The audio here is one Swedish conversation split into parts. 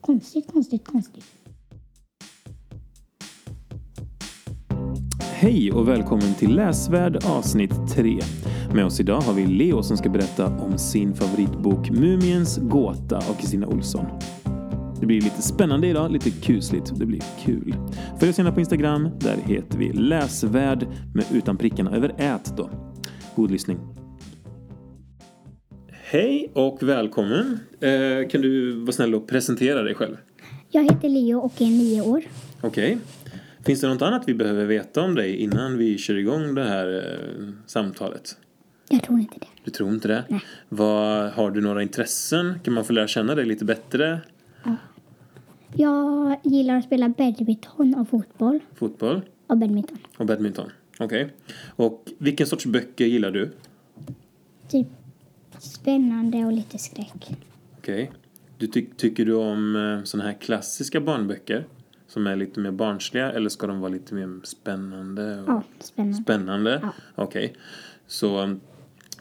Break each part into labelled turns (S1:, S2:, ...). S1: konstigt, konstigt, konstigt.
S2: Hej och välkommen till Läsvärd avsnitt 3. Med oss idag har vi Leo som ska berätta om sin favoritbok Mumiens gåta av Kristina Olsson. Det blir lite spännande idag, lite kusligt. Det blir kul. Följ oss gärna på Instagram. Där heter vi Läsvärd med utan prickarna över ät då. God lyssning. Hej och välkommen. Eh, kan du vara snäll och presentera dig själv?
S1: Jag heter Leo och är nio år.
S2: Okej. Finns det något annat vi behöver veta om dig innan vi kör igång det här eh, samtalet?
S1: Jag tror inte det.
S2: Du tror inte det? Vad, har du några intressen? Kan man få lära känna dig lite bättre?
S1: Jag gillar att spela badminton och fotboll.
S2: Fotboll
S1: Och badminton.
S2: och badminton? Okej. Och vilken sorts böcker gillar du?
S1: Typ spännande och lite skräck.
S2: Okej. Du ty- tycker du om eh, såna här klassiska barnböcker? Som är lite mer barnsliga eller ska de vara lite mer spännande? Och...
S1: Ja, spännande.
S2: Spännande.
S1: Ja.
S2: Okej. Så um,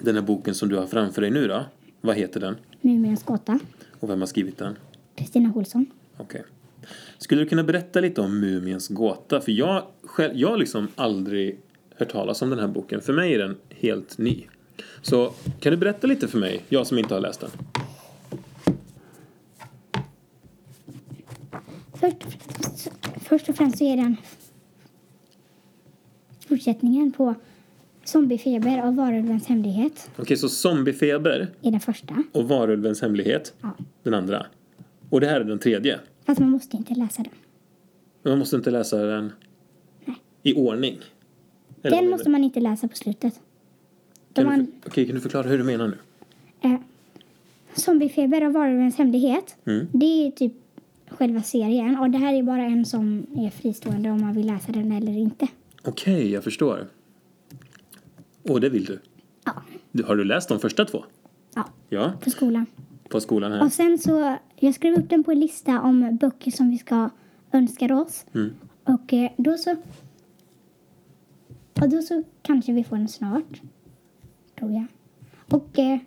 S2: den här boken som du har framför dig nu då? Vad heter den?
S1: Mumiens gåta.
S2: Och vem har skrivit den?
S1: Kristina Olsson.
S2: Okej. Skulle du kunna berätta lite om Mumiens gåta? För jag själv, jag har liksom aldrig hört talas om den här boken. För mig är den helt ny. Så kan du berätta lite för mig, jag som inte har läst den?
S1: Först, först och främst så är den fortsättningen på Zombiefeber av Varulvens hemlighet.
S2: Okej, så zombiefeber
S1: är den första.
S2: och varulvens hemlighet,
S1: Ja.
S2: den andra. Och det här är den tredje.
S1: Fast man måste inte läsa den.
S2: Man måste inte läsa den i ordning. Eller vad
S1: Den
S2: menar
S1: måste
S2: du?
S1: man inte läsa på slutet. De
S2: Kan du,
S1: an-
S2: för- okej, kan du förklara hur du menar nu?
S1: Eh, Zombiefeber och Varulvens hemlighet.
S2: Mm.
S1: Det är ju typ själva serien. Och det här är bara en som är fristående om man vill läsa den eller inte.
S2: Okej, jag förstår. Och det vill du.
S1: Ja.
S2: du. Har du läst de första två?
S1: ja
S2: Ja,
S1: på skolan.
S2: på skolan här.
S1: Och sen så, jag skrev upp den på en lista om böcker som vi ska önska oss.
S2: Mm.
S1: Och eh, då så... Och då så kanske vi får den snart. Tror jag. Och, eh,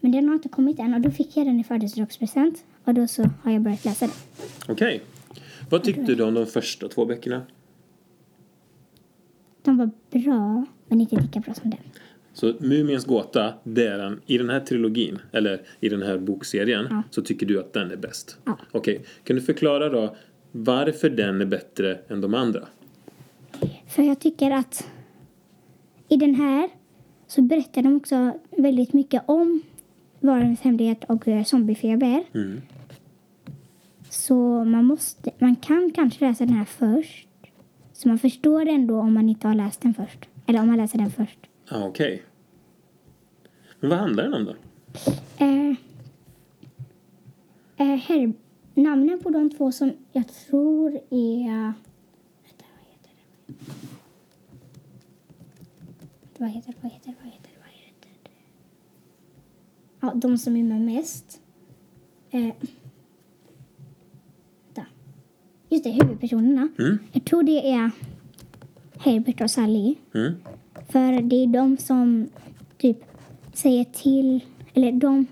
S1: men den har inte kommit än och då fick jag den i födelsedagspresent. Och då så har jag börjat läsa den.
S2: Okej. Vad tyckte du om de första två böckerna?
S1: De var bra, men inte lika bra som den.
S2: Så Mumiens gåta, det är den, i den här trilogin, eller i den här bokserien,
S1: Ja.
S2: så tycker du att den är bäst?
S1: Ja.
S2: Okej. Kan du förklara då varför den är bättre än de andra?
S1: För jag tycker att i den här så berättar de också väldigt mycket om varens hemlighet och eh, zombiefeber.
S2: Mm.
S1: Så man, måste, man kan kanske läsa den här först. Så man förstår det ändå om man inte har läst den först. Eller om man läser den först.
S2: Ah, Okej. Men vad handlar den om då?
S1: Eh, eh, här, namnen på de två som jag tror är... eh, Vänta, vad heter det? Vad heter det? Vad heter det? Vad heter det? Vad heter det? Ja, de som är med mest. Eh, vänta. Just det, huvudpersonerna.
S2: Mm.
S1: Jag tror det är Herbert och Sally.
S2: Mm.
S1: För det är de som typ säger till, eller de,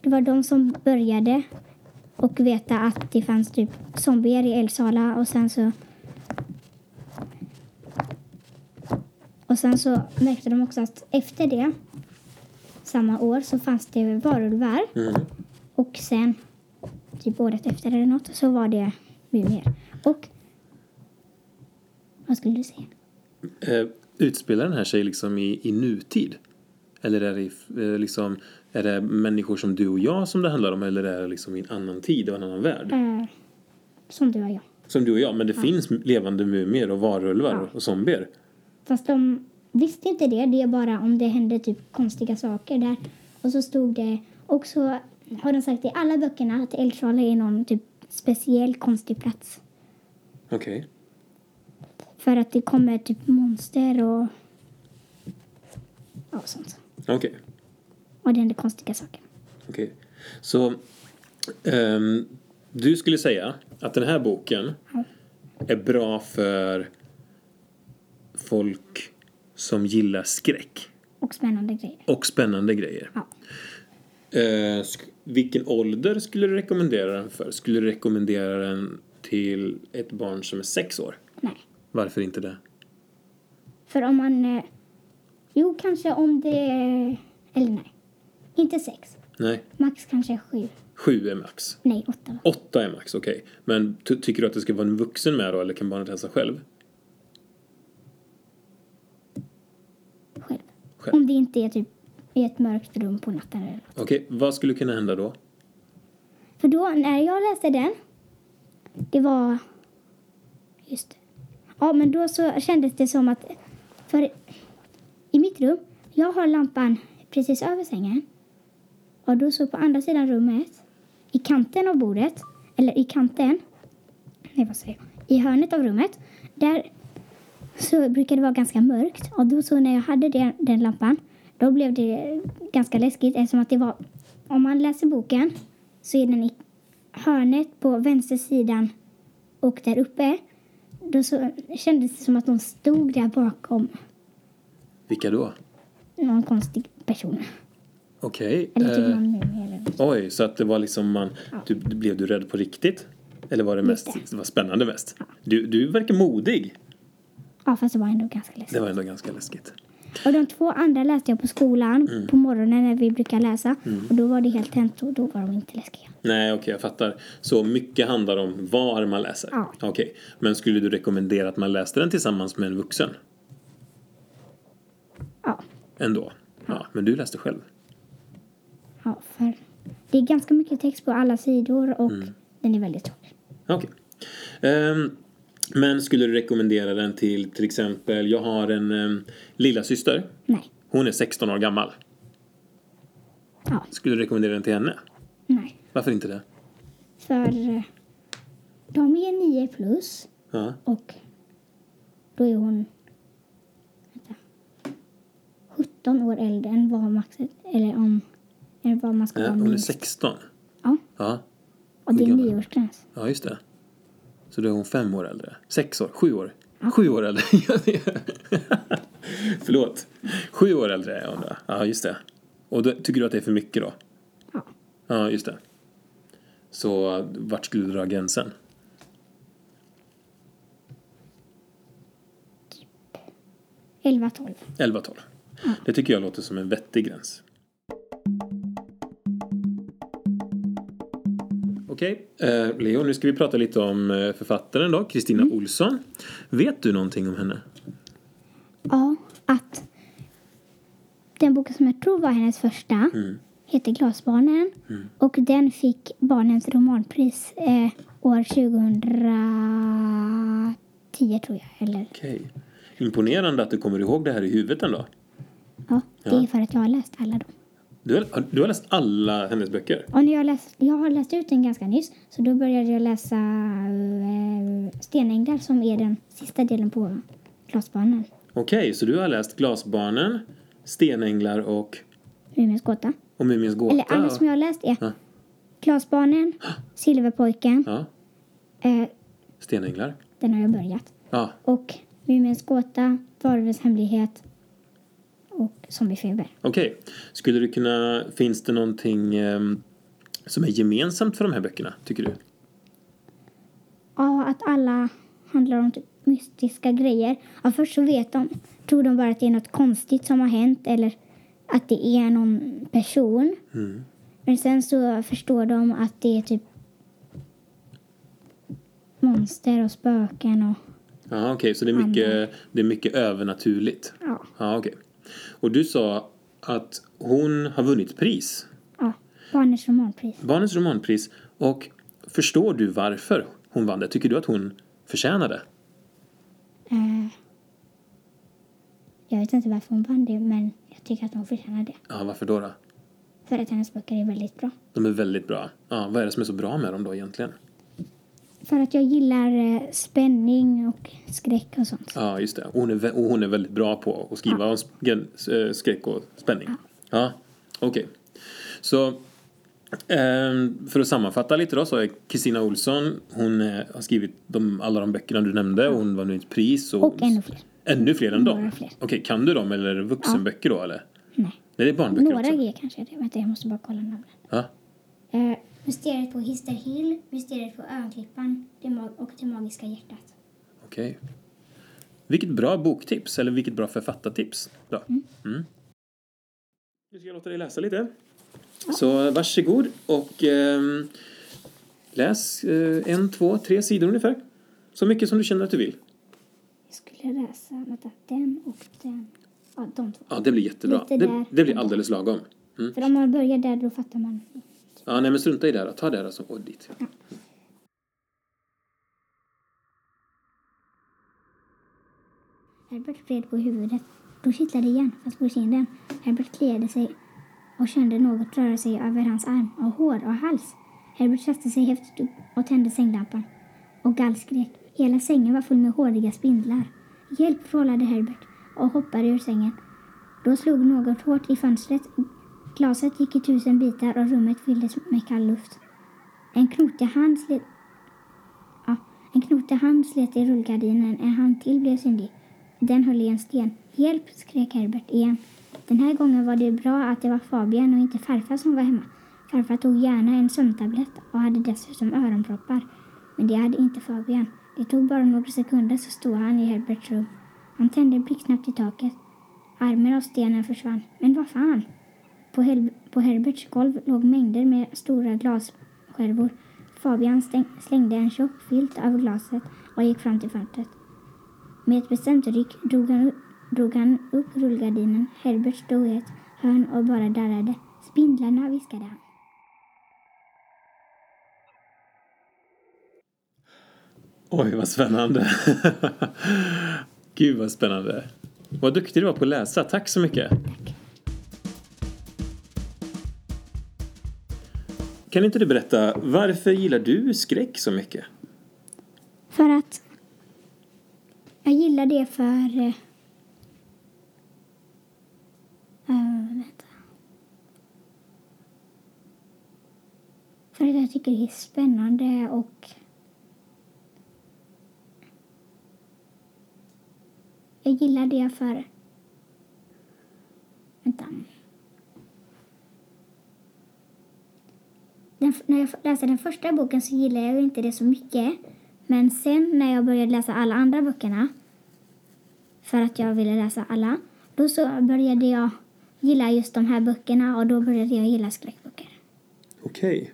S1: det var de som började och veta att det fanns typ zombier i Eldsala och sen så och sen så märkte de också att efter det samma år så fanns det varulvar
S2: Mm.
S1: och sen typ året efter eller något så var det mumier. Och vad skulle du säga?
S2: Eh, utspelar den här sig liksom i, i nutid? Eller är det, i- eh, liksom, är det människor som du och jag som det handlar om eller är det liksom i en annan tid och en annan värld?
S1: Eh, som du och jag.
S2: Som du och jag, men det finns levande mumier och varulvar
S1: Ja.
S2: och zombier.
S1: Fast de visste inte det. Det är bara om det hände typ konstiga saker där. Och så stod det... Och så har de sagt i alla böckerna att Eldsala är någon typ speciell konstig plats.
S2: Okej.
S1: För att det kommer typ monster och... Ja, sånt.
S2: Okej.
S1: Och det händer konstiga saker.
S2: Okej. Så ehm, du skulle säga att den här boken är bra för folk som gillar skräck
S1: Och spännande grejer.
S2: och spännande grejer.
S1: Ja.
S2: Eh, sk- vilken ålder skulle du rekommendera den för? Skulle du rekommendera den till ett barn som är sex år?
S1: Nej.
S2: Varför inte det?
S1: För om man... Eh, jo, kanske om det... Eller nej. Inte sex.
S2: Nej,
S1: Max kanske sju.
S2: sju är max.
S1: Nej, åtta. va?
S2: Åtta är max, okej. Men ty- tycker du att det ska vara en vuxen med då, eller kan barnet hälsa själv?
S1: Själv.
S2: Själv.
S1: Om det inte är typ i ett mörkt rum på natten eller något.
S2: Okej, vad skulle kunna hända då?
S1: För då, när jag läste den, det var... Just det. Ja, men då så kändes det som att... För i mitt rum, jag har lampan precis över sängen. Och då så på andra sidan rummet, i kanten av bordet, eller i kanten, nej vad säger jag, i hörnet av rummet, där så brukar det vara ganska mörkt. Och då så när jag hade den, den lampan, då blev det ganska läskigt eftersom att det var, om man läser boken så är den i hörnet på vänster sidan och där uppe. Då så kändes det som att de stod där bakom
S2: Vilka då?
S1: någon konstig person.
S2: Okej.
S1: Eller typ
S2: eh,
S1: någon mumie eller något.
S2: Oj, så att det var liksom man... Du, du- blev du rädd på riktigt? Eller var det mest...
S1: Lite.
S2: Det var spännande mest? Du, du verkar modig.
S1: Ja, fast det var ändå ganska läskigt.
S2: Det var ändå ganska läskigt.
S1: Och de två andra läste jag på skolan på morgonen när vi brukar läsa. Och då var det helt tänt och då var de inte läskiga.
S2: Nej, okej, jag fattar. Så mycket handlar om var man läser?
S1: Ja.
S2: Okej. Men skulle du rekommendera att man läste den tillsammans med en vuxen?
S1: Ja,
S2: Ändå? Ja, men du läste själv.
S1: ja för det är ganska mycket text på alla sidor och
S2: Mm.
S1: den är väldigt tjock.
S2: Okej. Ehm, men skulle du rekommendera den till till exempel, jag har en um, lilla syster.
S1: Nej,
S2: Hon är 16 år gammal.
S1: ja,
S2: Skulle du rekommendera den till henne?
S1: nej.
S2: Varför inte det?
S1: För eh, de är nio plus
S2: Ja.
S1: och då är hon vänta, 17 år äldre än vad Max eller om än vad man ska
S2: Ja,
S1: vara
S2: hon är
S1: minst.
S2: 16.
S1: Ja,
S2: Ja,
S1: och det
S2: Hur
S1: är
S2: gammal är
S1: nioårsgräns.
S2: ja just det. Så då är hon fem år äldre. Sex år, sju år. Sju år äldre. Ja, det- Förlåt. Sju år äldre är hon då. Ja, just det. Och då, tycker du att det är för mycket då?
S1: Ja.
S2: Ja, just det. Så vart skulle du dra gränsen?
S1: elva 12
S2: 11-12. Det tycker jag låter som en vettig gräns. Okej, eh, Leo, nu ska vi prata lite om eh, författaren då, Kristina
S1: Mm.
S2: Olsson. Vet du någonting om henne?
S1: Ja, att den boken som jag tror var hennes första
S2: Mm.
S1: heter Glasbarnen. Och den fick barnens romanpris eh, år 2010 tror jag. Eller,
S2: Okej. Imponerande att du kommer ihåg det här i huvudet ändå.
S1: ja, det är för att jag har läst alla dem.
S2: Du har, har- du har läst alla hennes böcker?
S1: Och när jag, läst, jag har läst ut den ganska nyss, så då började jag läsa eh, Stenänglar som är den sista delen på Glasbarnen.
S2: Okej, så du har läst Glasbarnen, Stenänglar och,
S1: Mumiens gåta.
S2: och Mumiens gåta?
S1: Eller alla som jag har läst är
S2: Ja.
S1: Glasbarnen, Silverpojken,
S2: Ja,
S1: eh,
S2: Stenänglar.
S1: den har jag börjat.
S2: Ja,
S1: Och Mumiens gåta, Varulvens hemlighet och Zombiefeber.
S2: Okej. Skulle du kunna... Finns det någonting ehm, som är gemensamt för de här böckerna, tycker du?
S1: Ja, att alla handlar om typ mystiska grejer. Ja, först så vet de, tror de bara att det är något konstigt som har hänt eller att det är någon person. Men sen så förstår de att det är typ monster och spöken och
S2: Ja, okej. Så det är mycket, det är mycket övernaturligt?
S1: ja.
S2: Ja, okej. Och du sa att hon har vunnit pris.
S1: ja Barnens romanpris.
S2: Barnens romanpris. Och förstår du varför hon vann det? Tycker du att hon förtjänade?
S1: Eh, jag vet inte varför hon vann det, men jag tycker att hon förtjänar det.
S2: Ja, varför då? då?
S1: För att hennes böcker är väldigt bra.
S2: De är väldigt bra. Ja, vad är det som är så bra med dem då egentligen?
S1: För att jag gillar eh, spänning och skräck och sånt.
S2: Ja, just det. Och hon är, vä- och hon är väldigt bra på att skriva om sk- eh, skräck och spänning. Ja, okej. Så ehm, för att sammanfatta lite då så är Kristina Olsson, hon eh, har skrivit de, alla de böckerna du nämnde och hon vann ett pris. Och,
S1: Och ännu fler.
S2: Ännu fler än dem?
S1: Några
S2: Okej,
S1: fler.
S2: kan du dem eller är det vuxenböcker då eller?
S1: Nej.
S2: Nej, det är barnböcker
S1: Några
S2: också.
S1: grejer kanske. är det. Vänta, jag måste bara kolla namnen.
S2: Ja.
S1: Eh,
S3: Mysteriet på Hister Hill, Mysteriet på Örnklippan det mag- och Det magiska hjärtat.
S2: Okej. Vilket bra boktips, eller vilket bra författartips. Då. Mm. Nu ska jag låta dig läsa lite. Så varsågod och ehm, läs eh, en, två, tre sidor ungefär. Så mycket som du känner att du vill.
S1: jag skulle läsa vänta, den och den. Ja, de två.
S2: Ja, det blir jättebra.
S1: Lite
S2: Det,
S1: där.
S2: det blir alldeles lagom. Mm.
S1: För om man börjar där då fattar man.
S2: Ja, nej men strunta i det här då. Ta det här då som och dit.
S1: Herbert vred på huvudet. Då kittlade det igen, fast på kinden. Herbert kliade sig och kände något röra sig över hans arm och hår och hals. Herbert satte sig häftigt upp och tände sänglampan. Och gallskrek. Hela sängen var full med håriga spindlar. Hjälp, vrålade Herbert och hoppade ur sängen. Då slog något hårt i fönstret. Glaset gick i tusen bitar och rummet fylldes med kall luft. En knotig hand slet... Ja, en knotig hand slet i rullgardinen. En hand till blev syndig. Den höll i en sten. Hjälp! skrek Herbert igen. Den här gången var det bra att det var Fabian och inte farfar som var hemma. Farfar tog gärna en sömntablett och hade dessutom öronproppar. Men det hade inte Fabian. Det tog bara några sekunder så stod han i Herberts rum. Han tände blixtsnabbt i taket. Armen av stenen försvann. Men vad fan? På, Hel- på Herberts golv låg mängder med stora glasskärvor. Fabian stäng- slängde en tjock filt över glaset och gick fram till fönstret. Med ett bestämt ryck drog han, drog han upp rullgardinen. Herbert stod i ett hörn och bara darrade. Spindlarna, viskade han.
S2: Oj, vad spännande. Gud, vad spännande. Vad duktig du var på att läsa. Tack så mycket. Kan inte du berätta, varför gillar du skräck så mycket?
S1: För att jag gillar det för... eh, eh, vänta. För att jag tycker det är spännande och... Jag gillar det för... Vänta. Den, när jag läste den första boken så gillade jag ju inte det så mycket. Men sen när jag började läsa alla andra böckerna, för att jag ville läsa alla, då så började jag gilla just de här böckerna och då började jag gilla skräckböcker.
S2: Okej.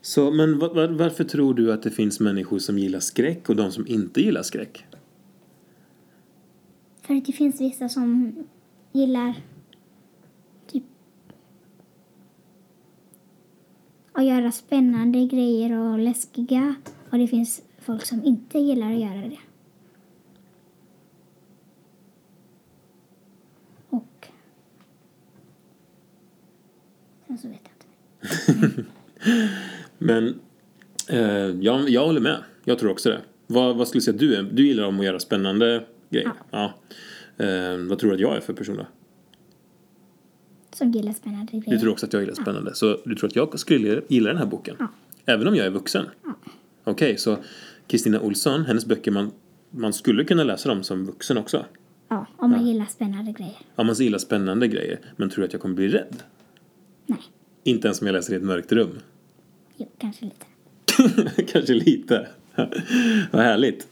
S2: Så, men va- va- varför tror du att det finns människor som gillar skräck och de som inte gillar skräck?
S1: För att det finns vissa som gillar typ att göra spännande grejer och läskiga och det finns folk som inte gillar att göra det. Och... Sen så vet jag inte.
S2: Men eh, jag, jag håller med. Jag tror också det. Vad, vad skulle du säga att du är? Du gillar om att göra spännande grejer. Ja. Eh, vad tror du att jag är för person då?
S1: Som gillar spännande grejer.
S2: Du tror också att jag gillar spännande. Så du tror att jag skulle gilla den här boken?
S1: Ja.
S2: Även om jag är vuxen?
S1: Ja.
S2: Okej, så Kristina Olsson, hennes böcker, man, man skulle kunna läsa dem som vuxen också.
S1: Ja, om man gillar spännande grejer.
S2: Om man gillar spännande grejer, men tror du att jag kommer bli rädd?
S1: Nej,
S2: Inte ens om jag läser i ett mörkt rum.
S1: jo, kanske lite.
S2: Kanske lite. Vad härligt.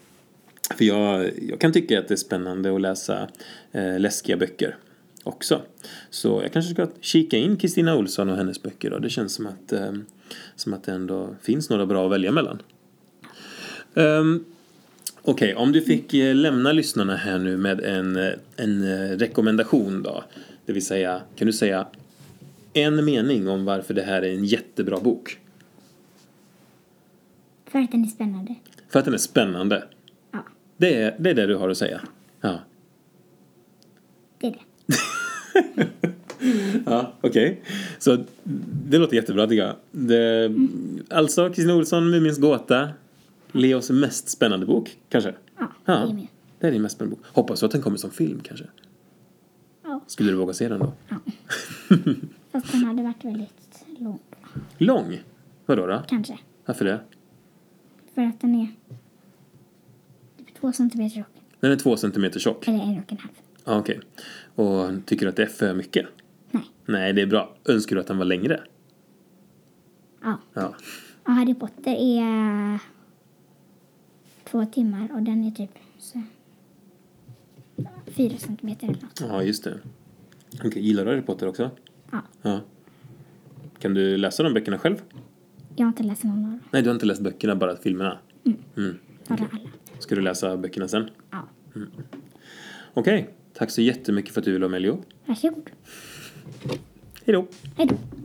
S2: För jag, jag kan tycka att det är spännande att läsa eh, läskiga böcker också. Så jag kanske ska kika in Kristina Olsson och hennes böcker då. Det känns som att, eh, som att det ändå finns några bra att välja mellan. Ehm, Okej, om du fick eh, lämna lyssnarna här nu med en, eh, en eh, rekommendation då. Det vill säga, kan du säga en mening om varför det här är en jättebra bok?
S1: För att den är spännande.
S2: För att den är spännande.
S1: Ja,
S2: Det är, det är det du har att säga. Ja,
S1: det är det.
S2: ja okej. Så det låter jättebra tycker jag. Det, Alltså, Kristina Olsson, Mumins gåta. Leos mest spännande bok, kanske?
S1: Ja, det är min.
S2: det är din mest spännande bok. Hoppas du att den kommer som film, kanske?
S1: Ja.
S2: Skulle du våga se den då?
S1: Ja. Fast den hade varit väldigt lång,
S2: Lång? Vadå då?
S1: kanske.
S2: Varför det?
S1: För att den är typ två centimeter tjock.
S2: Den är två centimeter tjock.
S1: Eller en och en halv.
S2: Ja, Okej. Och tycker du att det är för mycket?
S1: Nej.
S2: Nej, det är bra. Önskar du att den var längre?
S1: Ja.
S2: Ja.
S1: ja Harry Potter är två timmar och den är typ så, fyra centimeter eller något.
S2: Ja, just det. Okej, gillar du Harry Potter också?
S1: Ja.
S2: Ja. Kan du läsa de böckerna själv?
S1: Jag har inte läst någon av dem.
S2: Nej, du har inte läst böckerna, bara filmerna. Mm.
S1: Bara alla.
S2: Ska du läsa böckerna sen?
S1: Ja.
S2: Okej. Tack så jättemycket för att du ville vara med, Leo.
S1: Varsågod.
S2: Hej då!
S1: Hej då.